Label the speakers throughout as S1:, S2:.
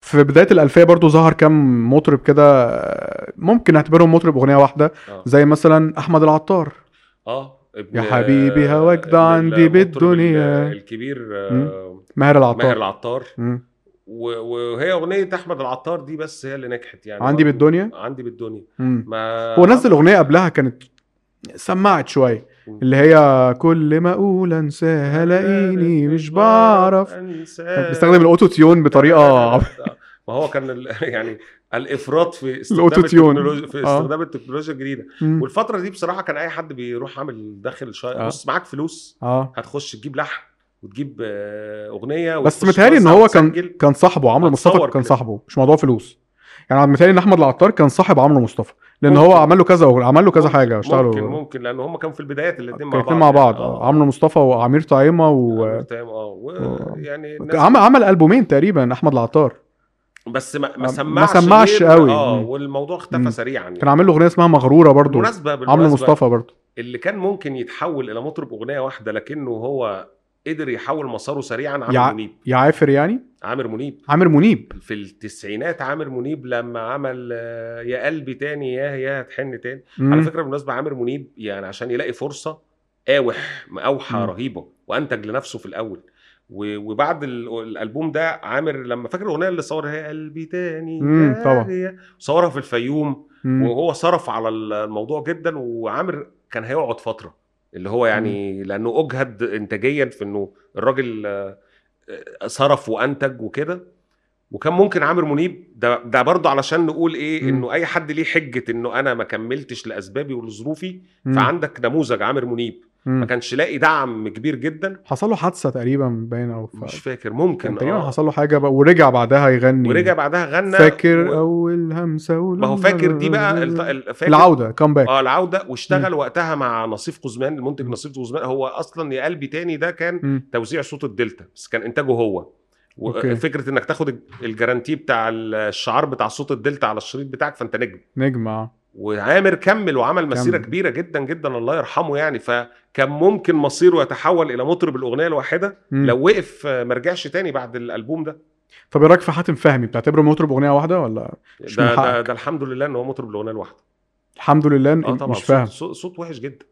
S1: في بدايه الالفيه برضو ظهر كام مطرب كده ممكن نعتبرهم مطرب اغنيه واحده
S2: آه.
S1: زي مثلا احمد العطار
S2: اه ابن
S1: يا حبيبي هواك ده
S2: ابن
S1: عندي
S2: المطرب
S1: بالدنيا.
S2: ال- الكبير آه،
S1: ماهر
S2: ماهر
S1: العطار
S2: العطار
S1: مم.
S2: و- وهي اغنيه احمد العطار دي بس هي اللي نجحت يعني
S1: عندي
S2: برضو-
S1: بالدنيا
S2: عندي بالدنيا
S1: مم.
S2: ما
S1: هو نزل اغنيه قبلها كانت سمعت شويه
S2: آه. مم.
S1: اللي هي كل ما اقول انساها لاقيني مش بعرف
S2: أنساك.
S1: بيستخدم الاوتو تيون بطريقه عب-
S2: آه، ما هو كان ال- يعني الافراط في استخدام
S1: الأوتوتيون.
S2: التكنولوجيا في
S1: آه.
S2: استخدام التكنولوجيا الجديده
S1: مم.
S2: والفتره دي بصراحه كان اي حد بيروح عامل داخل شا...
S1: آه.
S2: بص معاك فلوس
S1: اه
S2: هتخش تجيب لحن وتجيب آه، اغنيه
S1: بس
S2: وتخش
S1: متهيألي ان
S2: توزع
S1: هو كان
S2: وتسجل.
S1: كان صاحبه عمرو مصطفى
S2: هتصور
S1: كان
S2: كده.
S1: صاحبه مش موضوع فلوس يعني أنا متهيألي ان احمد العطار كان صاحب عمرو مصطفى لان هو
S2: ممكن.
S1: عمل له كذا أغنية- عمل له كذا حاجه
S2: ممكن
S1: اشتغلوا
S2: ممكن لان هم كانوا في البدايات الاثنين مع بعض
S1: الاثنين مع بعض
S2: يعني.
S1: آه. عمرو مصطفى وعمير طعيمه و...
S2: عمرو تمام اه
S1: آه.
S2: ويعني الناس-
S1: عمل عمل البومين تقريبا احمد العطار
S2: بس ما,
S1: ما
S2: ما سمعش
S1: سمعش
S2: غير-
S1: قوي.
S2: اه
S1: مم.
S2: والموضوع
S1: مم.
S2: اختفى سريعا
S1: كان
S2: يعني.
S1: عامل له اغنيه اسمها مغروره برضو
S2: بالمناسبه
S1: عمرو
S2: بالمناسبة،
S1: مصطفى برضو
S2: اللي كان ممكن يتحول الى مطرب اغنيه واحده لكنه هو قدر يحول مساره سريعا عامر
S1: يع-
S2: منيب
S1: يا عافر يعني
S2: عامر منيب
S1: عامر منيب
S2: في التسعينات عامر منيب لما عمل آه، يا قلبي تاني يا يا هتحن تاني على
S1: مم.
S2: فكره بالمناسبه عامر منيب يعني عشان يلاقي فرصه اوح اوحى
S1: مم.
S2: رهيبه وانتج لنفسه في الاول و- وبعد ال- الالبوم ده عامر لما فاكر الاغنيه اللي صورها يا قلبي تاني
S1: مم،
S2: يا
S1: طبعا.
S2: يا- صورها في الفيوم
S1: مم.
S2: وهو صرف على الموضوع جدا وعامر كان هيقعد فتره اللي هو
S1: إمم.
S2: يعني لانه اجهد انتاجيا في انه الراجل آه، آه، صرف وانتج وكده وكان ممكن عامر منيب ده ده برضه علشان نقول ايه
S1: مم.
S2: انه اي حد ليه حجه انه انا ما كملتش لاسبابي ولظروفي
S1: مم.
S2: فعندك نموذج عامر منيب
S1: مم.
S2: ما كانش لاقي دعم كبير جدا
S1: حصل له حادثه تقريبا باين او ف...
S2: مش فاكر
S1: كان
S2: ممكن
S1: تقريبا
S2: آه.
S1: حصل له حاجه بقى ورجع بعدها يغني
S2: ورجع بعدها غنى
S1: فاكر
S2: و...
S1: اول همسه ولما-
S2: ما هو فاكر دي بقى الط- ال- فاكر
S1: العوده كامباك
S2: اه العوده واشتغل وقتها مع نصيف قزمان المنتج نصيف قزمان هو اصلا يا قلبي تاني ده كان
S1: مم.
S2: توزيع صوت الدلتا بس كان انتاجه هو
S1: أوكي.
S2: وفكره انك تاخد الج- الجارانتي بتاع ال- الشعار بتاع صوت الدلتا على الشريط بتاعك فانت نجم
S1: نجم اه
S2: وعامر كمل وعمل مسيره
S1: كمل.
S2: كبيره جدا جدا الله يرحمه يعني فكان ممكن مصيره يتحول الى مطرب الاغنيه الواحده
S1: مم.
S2: لو وقف آه، ما رجعش تاني بعد الالبوم ده
S1: طب ايه رايك في حاتم فهمي بتعتبره مطرب اغنيه واحده ولا مش من
S2: ده, ده,
S1: حقك.
S2: ده الحمد لله ان هو مطرب الاغنيه الواحده
S1: الحمد لله
S2: اه
S1: إن-
S2: طبعا
S1: مش فاهم
S2: صوت, صوت, صوت وحش جدا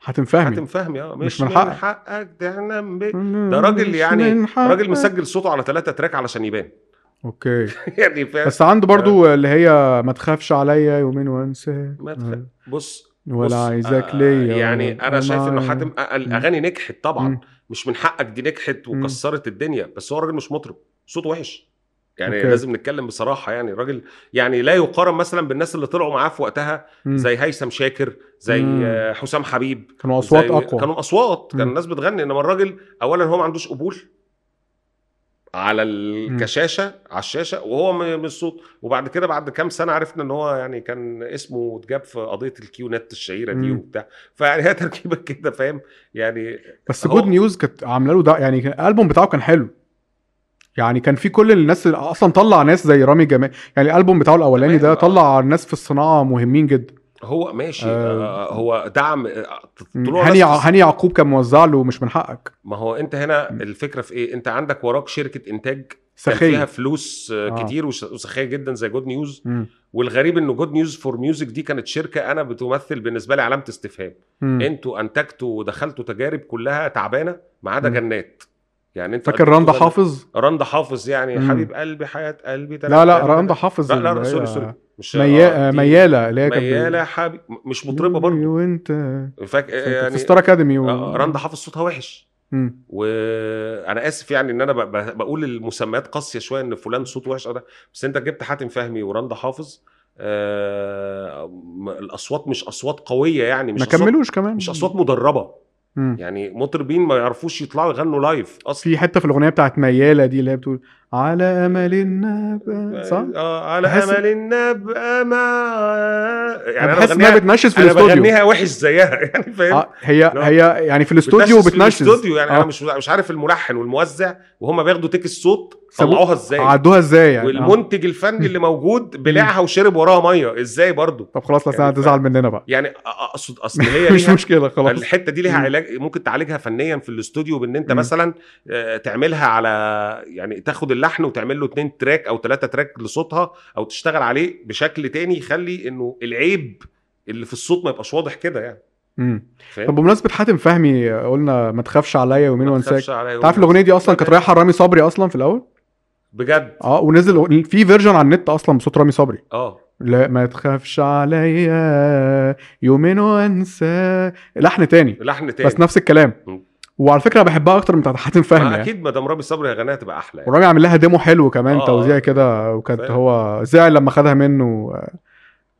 S1: حاتم فهمي
S2: حاتم فهمي اه
S1: مش
S2: مش
S1: من
S2: من
S1: حقك.
S2: حقك تحلم بيه ده راجل
S1: مش
S2: يعني-
S1: من حقك.
S2: راجل مسجل صوته على ثلاثة تراك علشان يبان
S1: اوكي
S2: يعني فاهم
S1: بس عنده برضو اللي هي ما تخافش عليا يومين وانسى
S2: ما تخ- بص بص،
S1: ولا عايزاك
S2: آه،
S1: ليا
S2: يعني
S1: ولا-
S2: انا شايف انه
S1: معايا.
S2: حاتم آه، الاغاني نجحت
S1: مم.
S2: طبعا مش من حقك دي نجحت
S1: مم.
S2: وكسرت الدنيا بس هو راجل مش مطرب صوته وحش يعني
S1: أوكي.
S2: لازم نتكلم بصراحه يعني راجل يعني لا يقارن مثلا بالناس اللي طلعوا معاه في وقتها
S1: مم.
S2: زي هيثم شاكر زي
S1: مم.
S2: آه، حسام حبيب
S1: كانوا اصوات
S2: زي-
S1: اقوى
S2: كانوا اصوات كان
S1: مم.
S2: الناس بتغني انما الراجل اولا هو ما عندوش قبول على
S1: مم.
S2: الكشاشه على الشاشه وهو م- مش صوت وبعد كده بعد كام سنه عرفنا ان هو يعني كان اسمه اتجاب في قضيه الكيونات الشهيره دي
S1: مم.
S2: وبتاع فيعني هي تركيبه كده فاهم يعني
S1: بس
S2: أهو.
S1: جود نيوز كانت عامله له ده يعني كان- الالبوم بتاعه كان حلو يعني كان في كل الناس اللي اصلا طلع ناس زي رامي جمال يعني الالبوم بتاعه الاولاني
S2: تمام،
S1: ده
S2: آه.
S1: طلع ناس في الصناعه مهمين جدا
S2: هو ماشي
S1: آه.
S2: آه هو دعم آه، طلوع
S1: هاني
S2: ناس-
S1: هاني يعقوب كان موزع له مش من حقك
S2: ما هو انت هنا الفكره في ايه انت عندك وراك شركه انتاج كان فيها
S1: سخيه
S2: فلوس آه،
S1: آه.
S2: كتير وس- وسخيه جدا زي جود نيوز
S1: مم.
S2: والغريب انه جود نيوز فور ميوزك دي كانت شركه انا بتمثل بالنسبه لي علامه استفهام
S1: مم.
S2: انتوا انتجتوا ودخلتوا تجارب كلها تعبانه ما عدا
S1: مم.
S2: جنات يعني انت
S1: فاكر رندا
S2: أنتوا-
S1: حافظ
S2: رندا حافظ يعني
S1: مم.
S2: حبيب قلبي حياه قلبي
S1: لا لا رندا حافظ
S2: لا لا
S1: اللي هي
S2: سوري سوري مش
S1: ميا...
S2: آه،
S1: آه،
S2: دي
S1: مياله اللي هي كانت بال-
S2: مياله حبيب مش مطربه برضه
S1: يوني وانت
S2: فاك...
S1: يعني في
S2: يعني
S1: ستار اكاديمي و...
S2: آه، يعني رندا حافظ صوتها وحش
S1: مم.
S2: وانا اسف يعني ان انا ب- ب- بقول المسميات قاسيه شويه ان فلان صوت وحش أو ده بس انت جبت حاتم فهمي ورندا حافظ آه م- الاصوات مش اصوات قويه يعني مش
S1: ما
S2: أصوات
S1: كملوش كمان
S2: مش اصوات مدربه
S1: مم.
S2: يعني مطربين ما يعرفوش يطلعوا يغنوا لايف اصلا
S1: في حته في الاغنيه بتاعت مياله دي اللي هي بتقول على امل النبأ صح؟
S2: اه على
S1: بحس-
S2: امل ان ابقى مع يعني
S1: انا
S2: انا
S1: بحس انها
S2: بغنيها
S1: بتنشز في
S2: انا
S1: الاستوديو
S2: بغنيها وحش زيها يعني فاهم
S1: آه هي
S2: لا.
S1: هي يعني في الاستوديو
S2: بتنشز في
S1: وبتنشز
S2: الاستوديو يعني
S1: آه.
S2: انا مش مش عارف الملحن والموزع وهم بياخدوا تيك الصوت
S1: سابوه-
S2: طلعوها ازاي
S1: عدوها ازاي يعني آه.
S2: والمنتج الفني اللي موجود بلعها وشرب وراها ميه ازاي برضو
S1: طب خلاص لا سنه
S2: يعني
S1: هتزعل مننا بقى
S2: يعني اقصد اصل هي
S1: مش
S2: ليها
S1: مشكله خلاص
S2: الحته دي ليها
S1: مم.
S2: علاج ممكن تعالجها فنيا في الاستوديو بان انت
S1: مم.
S2: مثلا آه، تعملها على يعني تاخد اللحن وتعمل له اتنين تراك او ثلاثه تراك لصوتها او تشتغل عليه بشكل تاني يخلي انه العيب اللي في الصوت ما يبقاش واضح كده يعني
S1: مم.
S2: فاهم؟
S1: طب بمناسبه حاتم فهمي قلنا ما تخافش عليا يومين
S2: ما
S1: وانساك
S2: تخافش عليا
S1: انت عارف
S2: والله.
S1: الاغنيه دي اصلا كانت رايحه رامي صبري اصلا في الاول
S2: بجد
S1: اه ونزل في فيرجن على النت اصلا بصوت رامي صبري
S2: اه
S1: لا ما تخافش عليا يومين وانسى لحن تاني
S2: لحن تاني
S1: بس نفس الكلام
S2: مم.
S1: وعلى فكره بحبها اكتر من بتاعت حاتم فهمي
S2: ما
S1: يعني.
S2: اكيد مدام رامي صبري هيغنيها تبقى احلى يعني.
S1: ورامي عامل لها ديمو حلو كمان
S2: آه.
S1: توزيع كده وكانت
S2: فاهم.
S1: هو زعل لما خدها منه آه،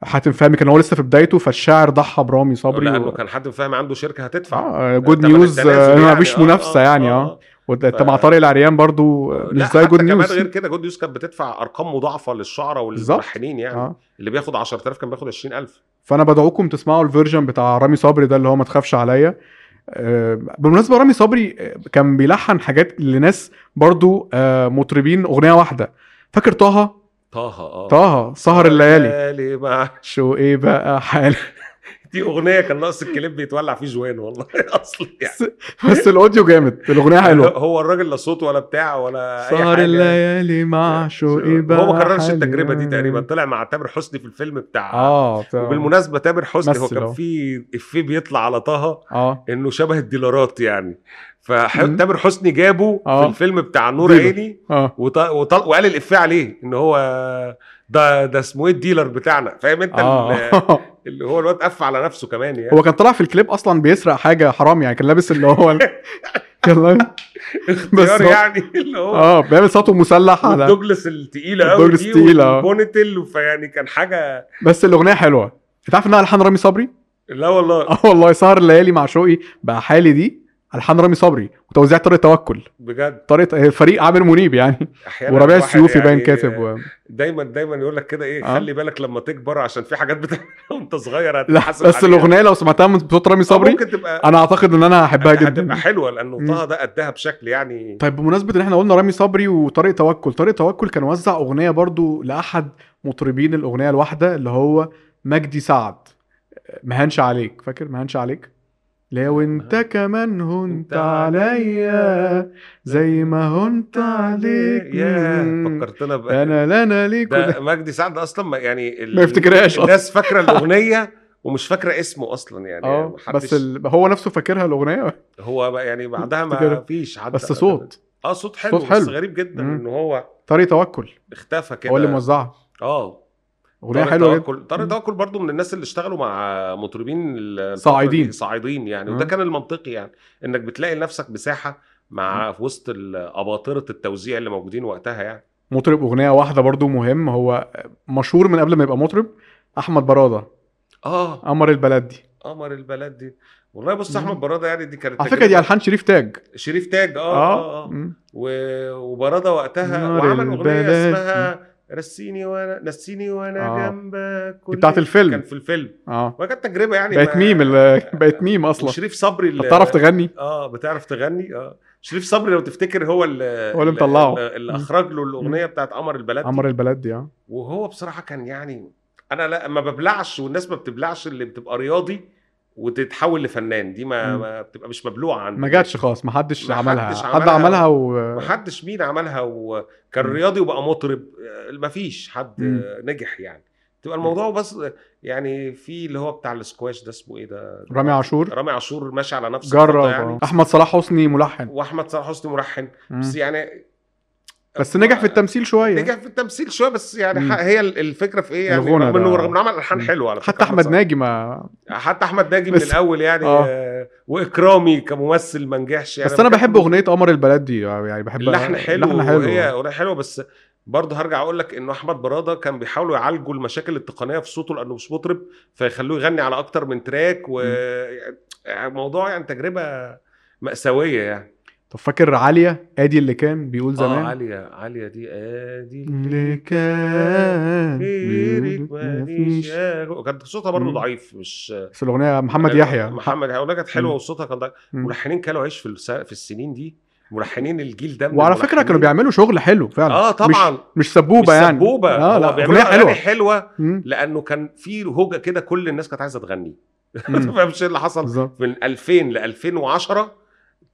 S1: حاتم فهمي كان هو لسه في بدايته فالشاعر ضحى برامي صبري
S2: لانه
S1: و...
S2: كان حد فاهم عنده شركه هتدفع
S1: آه جود
S2: تمن
S1: نيوز
S2: التنازل
S1: آه،
S2: يعني.
S1: مفيش
S2: آه،
S1: منافسه
S2: آه،
S1: يعني اه وانت مع طارق العريان برضو آه، مش
S2: لا
S1: زي
S2: حتى
S1: جود
S2: كمان
S1: نيوز
S2: غير كده جود نيوز كانت بتدفع ارقام مضاعفه للشعراء
S1: بالظبط.
S2: والملحنين يعني
S1: آه.
S2: اللي بياخد 10000 كان بياخد 20000
S1: فانا بدعوكم تسمعوا الفيرجن بتاع رامي صبري ده اللي هو ما تخافش عليا آه، بالمناسبه رامي صبري آه، كان بيلحن حاجات لناس برضو آه، مطربين اغنيه واحده فاكر طه
S2: طه اه
S1: طه سهر الليالي
S2: الليالي مع
S1: شو ايه بقى حال
S2: دي اغنيه كان ناقص الكليب بيتولع فيه جوان والله اصلا يعني
S1: بس الاوديو جامد الاغنيه حلوه
S2: هو الراجل لا صوت ولا بتاع ولا اي
S1: سهر
S2: حاجه
S1: الليالي مع شو ايه بقى
S2: هو ما كررش
S1: حال
S2: التجربه دي
S1: يا-
S2: تقريبا طلع مع تامر حسني في الفيلم بتاع
S1: اه طبعا.
S2: وبالمناسبه تامر حسني هو
S1: مثل
S2: كان
S1: أهو.
S2: في افيه بيطلع على طه
S1: اه
S2: انه شبه الديلارات يعني
S1: مم.
S2: فتامر حسني جابه
S1: آه.
S2: في الفيلم بتاع نور
S1: ديلر.
S2: عيني
S1: اه
S2: وط... وط... وقال الافيه عليه ان هو ده ده اسمه ايه الديلر بتاعنا فاهم انت ال-
S1: اه
S2: اللي هو الواد قف على نفسه كمان يعني
S1: هو كان طالع في الكليب اصلا بيسرق حاجه حرام يعني كان لابس اللي هو كان لابس
S2: اختيار
S1: هو-
S2: يعني اللي هو
S1: اه بيعمل سطو مسلح على
S2: الدوجلس التقيله قوي
S1: الدوجلاس
S2: دي
S1: التقيلة، آه.
S2: والبونيتل فيعني يعني كان حاجه
S1: بس الاغنيه حلوه انت عارف انها الحان رامي صبري
S2: لا والله
S1: اه والله سهر الليالي مع شوقي بقى حالي دي الحان رامي صبري وتوزيع طارق توكل
S2: بجد
S1: طارق آه، فريق عامر منيب يعني
S2: احيانا
S1: وربيع
S2: الواحد
S1: السيوفي باين
S2: يعني
S1: كاتب و...
S2: دايما دايما يقول لك كده ايه
S1: آه.
S2: خلي بالك لما تكبر عشان في حاجات بتعملها وانت صغير
S1: لا
S2: هتتحاسب
S1: بس
S2: عليها.
S1: الاغنيه لو سمعتها من صوت رامي
S2: آه،
S1: صبري
S2: ممكن تبقى
S1: انا اعتقد ان انا هحبها
S2: هتبقى
S1: جدا
S2: حلوه لانه
S1: مم.
S2: طه ده قدها بشكل يعني
S1: طيب بمناسبه ان احنا قلنا رامي صبري وطارق توكل طارق توكل كان وزع اغنيه برضو لاحد مطربين الاغنيه الواحده اللي هو مجدي سعد مهنش عليك فاكر مهنش عليك لو انت كمان هنت عليا زي ما هنت عليك
S2: ياه
S1: مم.
S2: فكرتنا بقى
S1: انا لا انا ليك وده-
S2: ده مجدي سعد اصلا ما يعني ال-
S1: ما يفتكرهاش اصلا
S2: الناس فاكره الاغنيه ومش فاكره اسمه اصلا يعني
S1: اه
S2: محدش-
S1: بس ال... هو نفسه فاكرها الاغنيه
S2: هو بقى يعني بعدها ما
S1: افتكرها.
S2: فيش حد
S1: بس صوت
S2: اه صوت حلو,
S1: صوت
S2: صوت
S1: حلو.
S2: حلو. بس غريب جدا
S1: مم.
S2: ان هو
S1: طارق توكل
S2: اختفى كده
S1: هو اللي موزعها
S2: اه
S1: اغنيه
S2: طارق
S1: حلوه جدا
S2: توكل طارق توكل برضو من الناس اللي اشتغلوا مع مطربين ال- الفترة
S1: صاعدين.
S2: دي، صاعدين يعني
S1: مم.
S2: وده كان المنطقي يعني انك بتلاقي لنفسك مساحه مع في وسط ال- اباطره التوزيع اللي موجودين وقتها يعني
S1: مطرب اغنيه واحده برضو مهم هو مشهور من قبل ما يبقى مطرب احمد براده
S2: اه
S1: قمر البلد دي
S2: قمر البلد دي والله بص
S1: مم.
S2: احمد براده يعني دي كانت
S1: على فكره
S2: تجربة-
S1: دي الحان شريف تاج
S2: شريف تاج اه اه, آه.
S1: مم.
S2: و- وبراده وقتها
S1: نار
S2: وعمل اغنيه
S1: البلد.
S2: اسمها رسيني وانا نسيني وانا
S1: آه.
S2: جنبك كل-
S1: بتاعت الفيلم.
S2: كان في الفيلم
S1: اه
S2: وكانت تجربه يعني
S1: بقت
S2: ما-
S1: ميم ال- بقت ميم اصلا
S2: وشريف صبري
S1: طب
S2: اللي
S1: بتعرف تغني
S2: اه بتعرف تغني اه شريف صبري لو تفتكر هو اللي
S1: هو اللي مطلعه.
S2: اللي
S1: مم.
S2: اخرج له الاغنيه بتاعت قمر البلد دي.
S1: قمر البلد دي اه
S2: وهو بصراحه كان يعني انا لا ما ببلعش والناس ما بتبلعش اللي بتبقى رياضي وتتحول لفنان دي ما,
S1: مم.
S2: ما بتبقى مش مبلوعه عندي
S1: ما جاتش خالص ما حدش
S2: ما
S1: عملها
S2: حدش
S1: حد
S2: عملها.
S1: عملها و
S2: محدش مين عملها وكان
S1: مم.
S2: رياضي وبقى مطرب آه، مفيش حد
S1: مم.
S2: آه، نجح يعني تبقى الموضوع بس آه، يعني في اللي هو بتاع السكواش ده اسمه ايه ده
S1: رامي عاشور
S2: رامي عاشور ماشي على نفس
S1: جرب
S2: الخطة
S1: يعني.
S2: يعني
S1: احمد صلاح حسني ملحن
S2: واحمد صلاح حسني مرحن
S1: مم.
S2: بس يعني
S1: بس نجح في التمثيل شويه
S2: نجح في التمثيل شويه بس يعني
S1: أيوة. مم.
S2: ح- هي ال- الفكره في ايه يعني
S1: الغنى
S2: رغم انه
S1: ده.
S2: رغم انه عمل الحان
S1: مم.
S2: حلوه على
S1: حتى
S2: فكرة
S1: احمد
S2: أحمد
S1: ناجي ما
S2: صلاح. حتى احمد ناجي من
S1: بس-
S2: الاول يعني
S1: آه.
S2: آه. واكرامي كممثل ما نجحش يعني
S1: بس انا
S2: بجد
S1: بحب اغنيه قمر البلد دي يعني بحب
S2: اللحن حلو
S1: اللحن حلو
S2: وهي اغنيه حلوه بس برضه هرجع اقول لك انه احمد براده كان بيحاولوا يعالجوا المشاكل التقنيه في صوته لانه مش مطرب فيخلوه يغني على اكتر من تراك و يعني موضوع يعني تجربه مأساوية يعني
S1: طب فاكر عاليه ادي اللي كان بيقول
S2: اه
S1: زمان
S2: عالية عالية دي ادي
S1: اللي كان
S2: غيرك
S1: بيقول إيه؟
S2: مفيش
S1: مفيش
S2: يا غو- كان صوتها برضه
S1: مم.
S2: ضعيف مش يعني
S1: بس الاغنيه محمد يحيى
S2: محمد يحيى كانت حلوه
S1: مم.
S2: وصوتها كان ضعيف
S1: مم.
S2: ملحنين كانوا عيش في الس- في السنين دي ملحنين الجيل ده من
S1: وعلى فكره كانوا
S2: الملحنين.
S1: بيعملوا شغل حلو فعلا
S2: اه طبعا
S1: مش, مش سبوبه
S2: مش
S1: يعني
S2: سبوبه
S1: اه
S2: هو
S1: لا
S2: بيعملوا
S1: اغنيه
S2: اغاني
S1: حلوه
S2: حلوه
S1: مم.
S2: لانه كان في هوجه كده كل الناس كانت عايزه تغني
S1: مم.
S2: فاهمش ايه اللي حصل
S1: بالظبط
S2: من 2000 ل 2010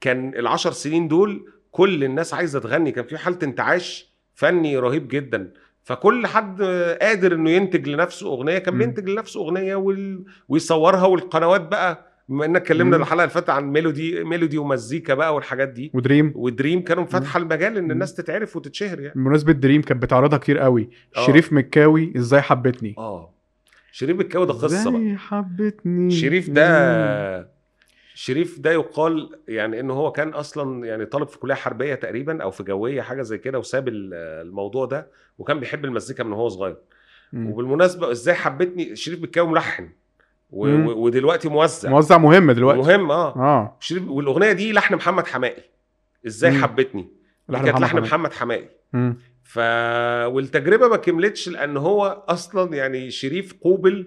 S2: كان ال 10 سنين دول كل الناس عايزه تغني كان في حاله انتعاش فني رهيب جدا فكل حد قادر انه ينتج لنفسه اغنيه كان
S1: مم.
S2: بينتج لنفسه اغنيه وال... ويصورها والقنوات بقى بما انك اتكلمنا
S1: مم.
S2: الحلقه اللي فاتت عن ميلودي ميلودي ومزيكا بقى والحاجات دي
S1: ودريم
S2: ودريم كانوا فاتحه المجال ان
S1: مم.
S2: الناس تتعرف وتتشهر يعني
S1: بمناسبه دريم كانت بتعرضها كتير قوي
S2: آه.
S1: شريف مكاوي ازاي حبتني
S2: اه شريف الكاوي آه، ده قصه بقى
S1: ازاي حبتني
S2: شريف ده شريف ده يقال يعني ان هو كان اصلا يعني طالب في كليه حربيه تقريبا او في جويه حاجه زي كده وساب ال- الموضوع ده وكان بيحب المزيكا من هو صغير
S1: مم.
S2: وبالمناسبه ازاي حبتني شريف بتكاوي ملحن و-
S1: مم.
S2: و- ودلوقتي موزع
S1: موزع مهم دلوقتي
S2: مهم اه
S1: اه
S2: شريف والاغنيه دي لحن محمد حماقي ازاي
S1: مم.
S2: حبتني دي
S1: لحن
S2: كانت
S1: محمد حماقي.
S2: لحن محمد حماقي
S1: مم.
S2: ف والتجربه ما كملتش لان هو اصلا يعني شريف قوبل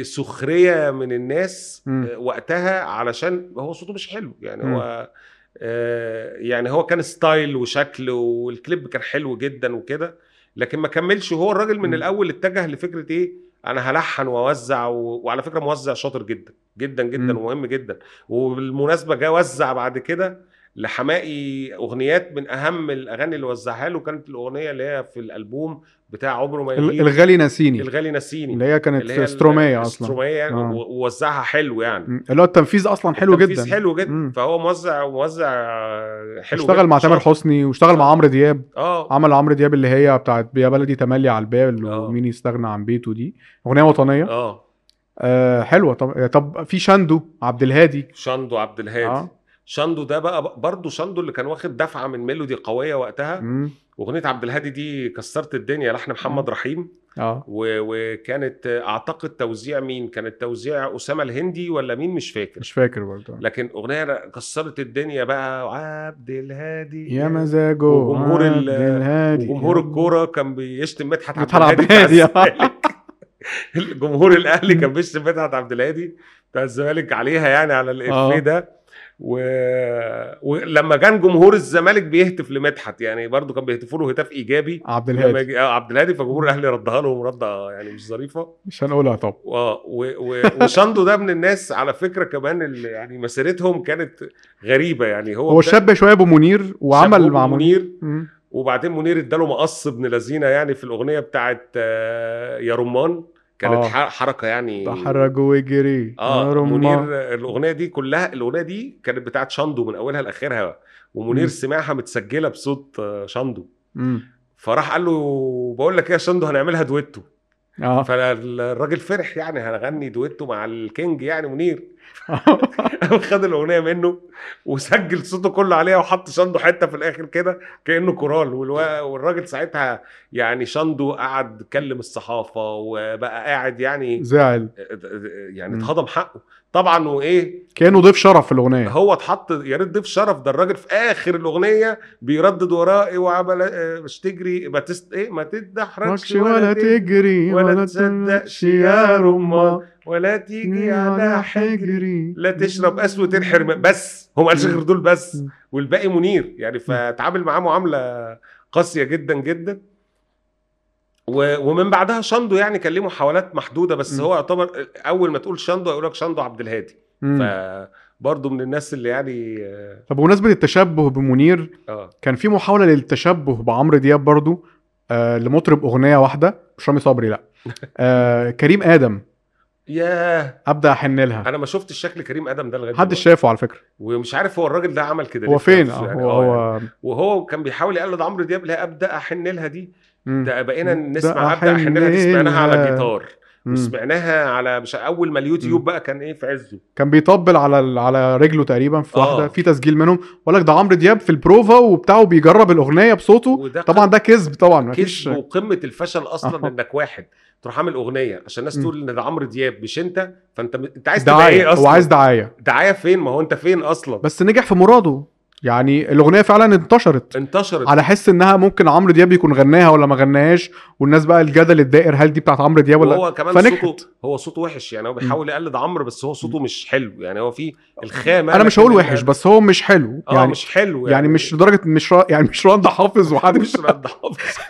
S2: بسخريه من الناس
S1: مم.
S2: آه، وقتها علشان هو صوته مش حلو يعني
S1: مم.
S2: هو آه، يعني هو كان ستايل وشكل والكليب كان حلو جدا وكده لكن ما كملش هو الراجل من
S1: مم.
S2: الاول اتجه لفكره ايه انا هلحن واوزع و... وعلى فكره موزع شاطر جدا جدا جدا
S1: مم.
S2: ومهم جدا وبالمناسبه جه وزع بعد كده لحماقي اغنيات من اهم الاغاني اللي وزعها له كانت الاغنيه اللي هي في الالبوم بتاع عمره ما
S1: ال-
S2: يغيب
S1: الغالي ناسيني
S2: الغالي نسيني
S1: اللي هي كانت استروميه اصلا
S2: استروميه يعني
S1: آه.
S2: و- ووزعها حلو يعني
S1: مم. اللي هو التنفيذ اصلا حلو
S2: التنفيذ
S1: جدا
S2: حلو جدا
S1: مم.
S2: فهو موزع موزع حلو
S1: اشتغل
S2: جداً،
S1: مع تامر
S2: شاطر. آه.
S1: حسني واشتغل مع عمرو دياب
S2: اه
S1: عمل عمرو دياب اللي هي بتاعت يا بلدي تملي على البال
S2: آه.
S1: ومين يستغنى عن بيته دي اغنيه وطنيه
S2: اه
S1: آه حلوه طب طب في شاندو عبد الهادي
S2: شاندو عبد الهادي
S1: آه.
S2: شاندو ده بقى برضه شاندو اللي كان واخد دفعه من ميلودي قويه وقتها
S1: مم.
S2: اغنيه عبد الهادي دي كسرت الدنيا لحن محمد رحيم
S1: اه
S2: و- وكانت اعتقد توزيع مين كانت توزيع اسامه الهندي ولا مين مش فاكر
S1: مش فاكر برضه
S2: لكن اغنيه كسرت الدنيا بقى عبد الهادي
S1: يا مزاجه
S2: وجمهور
S1: عبد
S2: ال-
S1: الهادي
S2: وجمهور الكوره كان بيشتم مدحت عبد
S1: مدحت عبد
S2: الهادي بتاع
S1: الهادي. آه.
S2: الزمالك. الجمهور الاهلي كان بيشتم مدحت عبد الهادي بتاع الزمالك عليها يعني على
S1: آه.
S2: الافيه ده و... ولما كان جمهور الزمالك بيهتف لمدحت يعني برضو كان بيهتفوا له هتاف ايجابي
S1: عبد
S2: لما
S1: الهادي
S2: يجي- آه، عبد الهادي فجمهور الاهلي ردها لهم رده يعني مش ظريفه
S1: مش هنقولها طب
S2: اه و- و- وشاندو ده من الناس على فكره كمان اللي يعني مسيرتهم كانت غريبه يعني هو
S1: هو
S2: بدأ-
S1: شاب شويه بمنير وعمل
S2: شابوه
S1: مع منير
S2: منير
S1: مم.
S2: وبعدين منير اداله مقص ابن لذينه يعني في الاغنيه بتاعت آه، يا رمان كانت
S1: آه.
S2: ح- حركه يعني
S1: تحرج وجري يا
S2: اه
S1: رما.
S2: منير الاغنيه دي كلها الاغنيه دي كانت بتاعت شاندو من اولها لاخرها ومنير
S1: مم.
S2: سمعها متسجله بصوت آه، شاندو
S1: مم.
S2: فراح قال له بقول لك ايه يا شاندو هنعملها دويتو
S1: اه
S2: فالراجل فرح يعني هنغني دويتو مع الكينج يعني منير خد الاغنيه منه وسجل صوته كله عليها وحط شاندو حته في الاخر كده كانه كورال والوا- والراجل ساعتها يعني شاندو قعد كلم الصحافه وبقى قاعد يعني
S1: زعل
S2: يعني
S1: مم.
S2: اتهضم حقه طبعا وايه
S1: كانه ضيف شرف في الاغنيه
S2: هو اتحط يا ريت ضيف شرف ده الراجل في اخر الاغنيه بيردد وراه اوعى بلا- مش تجري ما تست ايه ما تتدحرجش
S1: ماكش ولا تجري
S2: ولا
S1: ولا
S2: تصدقش
S1: تصدقش
S2: يا
S1: يا
S2: رما.
S1: رما
S2: ولا تيجي على حجري لا تشرب اسود الحرمان بس هم قالش
S1: مم.
S2: غير دول بس
S1: مم.
S2: والباقي منير يعني فتعامل معاه معامله قاسيه جدا جدا و- ومن بعدها شاندو يعني كان ليه محاولات محدوده بس
S1: مم.
S2: هو يعتبر اول ما تقول شاندو هيقول لك شاندو عبد الهادي فبرضه من الناس اللي يعني
S1: طب بمناسبه التشبه بمنير
S2: اه
S1: كان في محاوله للتشبه بعمرو دياب برضو آه لمطرب اغنيه واحده مش رامي صبري لا آه كريم ادم
S2: ياه
S1: ابدا احن لها
S2: انا ما شفتش شكل كريم ادم ده لغايه
S1: محدش
S2: دلوقتي.
S1: شافه على فكره
S2: ومش عارف هو الراجل ده عمل كده ليه
S1: هو
S2: في
S1: فين
S2: نفسه
S1: آه،
S2: يعني.
S1: هو
S2: آه، يعني.
S1: هو
S2: وهو كان بيحاول يقلد عمرو دياب لا ابدا احن لها دي
S1: مم.
S2: ده بقينا
S1: ده
S2: نسمع ابدا احن لها دي
S1: أحن
S2: سمعناها على
S1: لها.
S2: جيتار
S1: مم.
S2: وسمعناها على مش اول ما اليوتيوب
S1: مم.
S2: بقى كان ايه في عزه
S1: كان بيطبل على ال- على رجله تقريبا في
S2: آه.
S1: واحده في تسجيل منهم وقال لك ده عمرو دياب في البروفا وبتاعه بيجرب الاغنيه بصوته
S2: وده
S1: طبعا ده كذب طبعا مفيش
S2: كذب وقمه الفشل اصلا
S1: آه.
S2: انك واحد تروح عامل اغنيه عشان الناس
S1: مم.
S2: تقول ان ده عمرو دياب مش انت فانت م- انت عايز تبقى
S1: دعايه
S2: ايه
S1: هو
S2: اصلا
S1: عايز دعايه
S2: دعايه فين ما هو انت فين اصلا
S1: بس نجح في مراده يعني الاغنيه فعلا انتشرت
S2: انتشرت
S1: على حس انها ممكن عمرو دياب يكون غناها ولا ما غناهاش والناس بقى الجدل الدائر هل دي بتاعت عمرو دياب ولا
S2: وهو كمان
S1: فنجحت.
S2: صوته هو صوته وحش يعني هو بيحاول يقلد عمرو بس هو صوته مش حلو يعني هو فيه الخامه
S1: انا مش هقول
S2: لكن
S1: وحش
S2: ال-
S1: بس هو مش حلو
S2: اه
S1: يعني
S2: يعني. مش حلو
S1: يعني مش لدرجه مش را... يعني مش رند حافظ وحد
S2: مش رد حافظ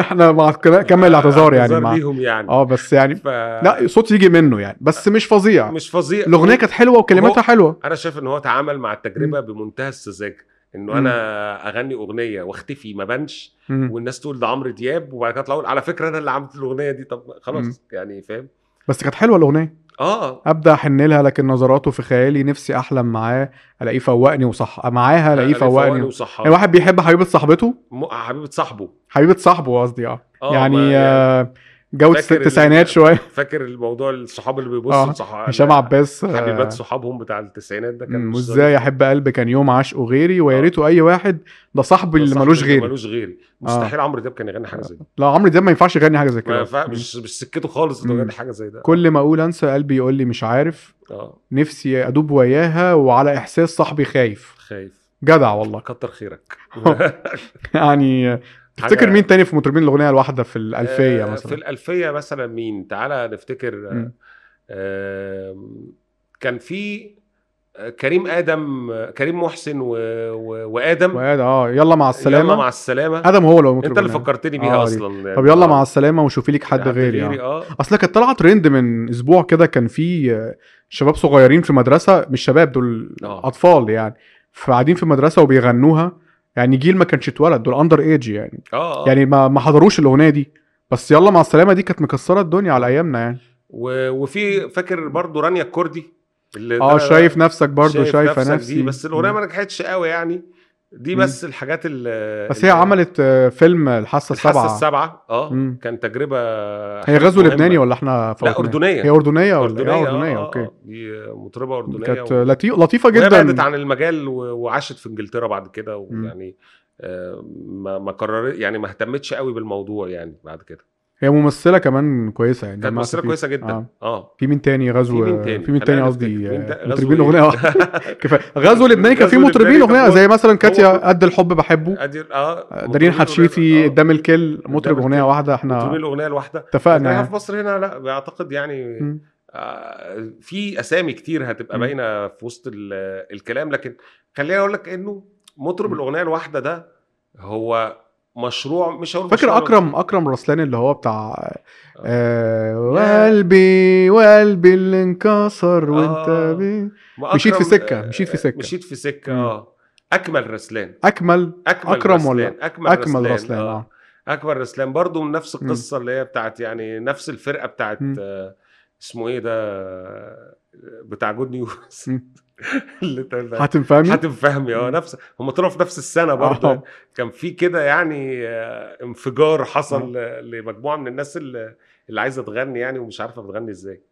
S1: احنا مع كمل اعتذار يعني مع
S2: ليهم يعني
S1: اه بس يعني
S2: ف...
S1: لا صوت يجي منه يعني بس مش فظيع
S2: مش فظيع
S1: الاغنيه كانت حلوه وكلماتها
S2: هو-
S1: حلوه
S2: انا شايف ان هو تعامل مع التجربه بمنتهى السذاجه انه انا اغني اغنيه واختفي ما بانش
S1: مم.
S2: والناس تقول ده عمرو دياب وبعد كده يطلعوا يقول على فكره انا اللي عملت الاغنيه دي طب
S1: مم.
S2: خلاص يعني فاهم
S1: بس كانت حلوه الاغنيه
S2: اه
S1: ابدا احن لها لكن نظراته في خيالي نفسي احلم معاه الاقيه فوقني وصح معاها الاقيه فوقني
S2: وصح
S1: يعني واحد بيحب حبيبه صاحبته
S2: م- حبيبه صاحبه
S1: حبيبه صاحبه قصدي اه
S2: آه، ما-
S1: يعني آه، جو
S2: فاكر ال-
S1: التسعينات شويه
S2: فاكر الموضوع الصحاب اللي
S1: آه،
S2: بيبصوا لصحاب
S1: هشام عباس آه،
S2: حبيبات صحابهم بتاع التسعينات ده كان
S1: مم، وازاي احب قلبي كان يوم عاشقه غيري ويا
S2: آه.
S1: ريته اي واحد ده صاحبي اللي ملوش آه. غيري
S2: ملوش غيري مستحيل عمرو دياب كان يغني حاجه زي دي
S1: لا عمرو دياب ما ينفعش يغني حاجه زي
S2: ما
S1: كده
S2: فا- مش مش سكته خالص انه
S1: مم.
S2: يغني حاجه زي ده
S1: كل ما اقول انسى قلبي يقول لي مش عارف
S2: اه
S1: نفسي ادوب وياها وعلى احساس صاحبي خايف
S2: خايف
S1: جدع والله
S2: كتر خيرك
S1: يعني تفتكر
S2: حاجة-
S1: مين تاني في مطربين الاغنيه الواحده في الالفيه
S2: آه، في
S1: مثلا
S2: الألفية مثلا مين؟ تعالى نفتكر آه،
S1: مم.
S2: آم، كان في آه، كريم آدم آه، كريم محسن و... و... وآدم
S1: وقال اه يلا مع السلامه
S2: يلا مع السلامة
S1: ادم هو اللي هو
S2: أنت اللي
S1: المطرب
S2: فكرتني
S1: آه،
S2: بيها
S1: دي.
S2: أصلا يعني
S1: طب يلا
S2: آه،
S1: مع السلامه وشوفي لك حد غيري يعني.
S2: اه
S1: اصل كانت طالعه ترند من اسبوع كده كان في آه، شباب صغيرين في مدرسه مش شباب دول
S2: آه.
S1: اطفال يعني فقاعدين في مدرسه وبيغنوها يعني جيل ما كانش اتولد دول اندر ايج يعني
S2: اه, آه. يعني
S1: يعني ما ما حضروش الاغنيه دي بس يلا مع السلامه دي كانت مكسره الدنيا على ايامنا يعني
S2: و... وفي فاكر برضو رانيا الكردي اللي
S1: اه
S2: ده-
S1: شايف نفسك برضه
S2: شايف
S1: شايفه
S2: نفسك
S1: نفسي
S2: دي بس الأغنية
S1: مم.
S2: ما نجحتش قوي يعني دي
S1: مم.
S2: بس الحاجات اللي
S1: بس هي عملت آه، فيلم الحاسه
S2: الحاسة
S1: السابعه
S2: السبعة اه
S1: مم.
S2: كان تجربة
S1: هي غزو
S2: مهمة.
S1: لبناني ولا احنا
S2: لا
S1: فوقنا؟
S2: أردنية
S1: هي اردنيه ولا اردنيه
S2: أردنية آه،
S1: اردنيه
S2: آه،
S1: اوكي
S2: آه. دي مطربة أردنية
S1: كانت
S2: و-
S1: لطيف لطيفه
S2: وهي بعدت
S1: جدا
S2: عن المجال و- وعاشت في انجلترا بعد كده
S1: مم.
S2: ويعني آه، ما ما قررت يعني ما اهتمتش قوي بالموضوع يعني بعد كده
S1: هي ممثله كمان كويسه يعني
S2: كانت
S1: دمها
S2: ممثله
S1: خفيف.
S2: كويسه
S1: آه.
S2: جدا اه
S1: في مين تاني
S2: في
S1: غزو
S2: مين تاني
S1: في مين تاني
S2: خلينا
S1: قصدي
S2: نفتكر. مين تا-
S1: آه،
S2: غزو
S1: مطربين
S2: إيه؟
S1: اغنيه آه، كفايه غزو لبناني كان في
S2: غزو
S1: مطربين
S2: لبناني كان
S1: اغنيه زي مثلا
S2: هو-
S1: كاتيا قد الحب بحبه
S2: أدي- اه
S1: دارين حتشيفي
S2: قدام
S1: قدام الكل مطرب
S2: قدام
S1: اغنيه
S2: الكل.
S1: واحده
S2: مطربين
S1: احنا
S2: الاغنيه الواحده
S1: اتفقنا
S2: لكن
S1: يعني.
S2: في مصر هنا لا بعتقد يعني
S1: مم.
S2: آه، في اسامي كتير هتبقى
S1: مم.
S2: باينه في وسط ال- الكلام لكن خليني اقول لك انه مطرب
S1: مم.
S2: الاغنيه الواحده ده هو مشروع مش هقول
S1: فاكر
S2: مشروع
S1: اكرم اكرم رسلان اللي هو بتاع آه
S2: يا.
S1: وقلبي وقلبي اللي انكسر
S2: آه.
S1: وانت بي
S2: ما
S1: مشيت في
S2: أكرم-
S1: سكة،
S2: آه،
S1: مشيت في سكة.
S2: مشيت في سكه
S1: مم.
S2: اه اكمل رسلان
S1: اكمل
S2: اكمل
S1: أكرم
S2: رسلان.
S1: ولا-
S2: اكمل,
S1: اكمل رسلان اه
S2: اكمل رسلان برضو من نفس
S1: مم.
S2: القصه اللي هي بتاعت يعني نفس الفرقه بتاعت
S1: مم.
S2: آه، اسمه ايه ده آه، بتاع جود نيوز
S1: مم.
S2: اللي تل-
S1: آه. حاتم فهمي
S2: حاتم فهمي اه
S1: مم.
S2: نفس هم طلعوا في نفس السنه برضه
S1: آه.
S2: كان في كده يعني آه، انفجار حصل آه، لمجموعه من الناس اللي اللي عايزه تغني يعني ومش عارفه بتغني ازاي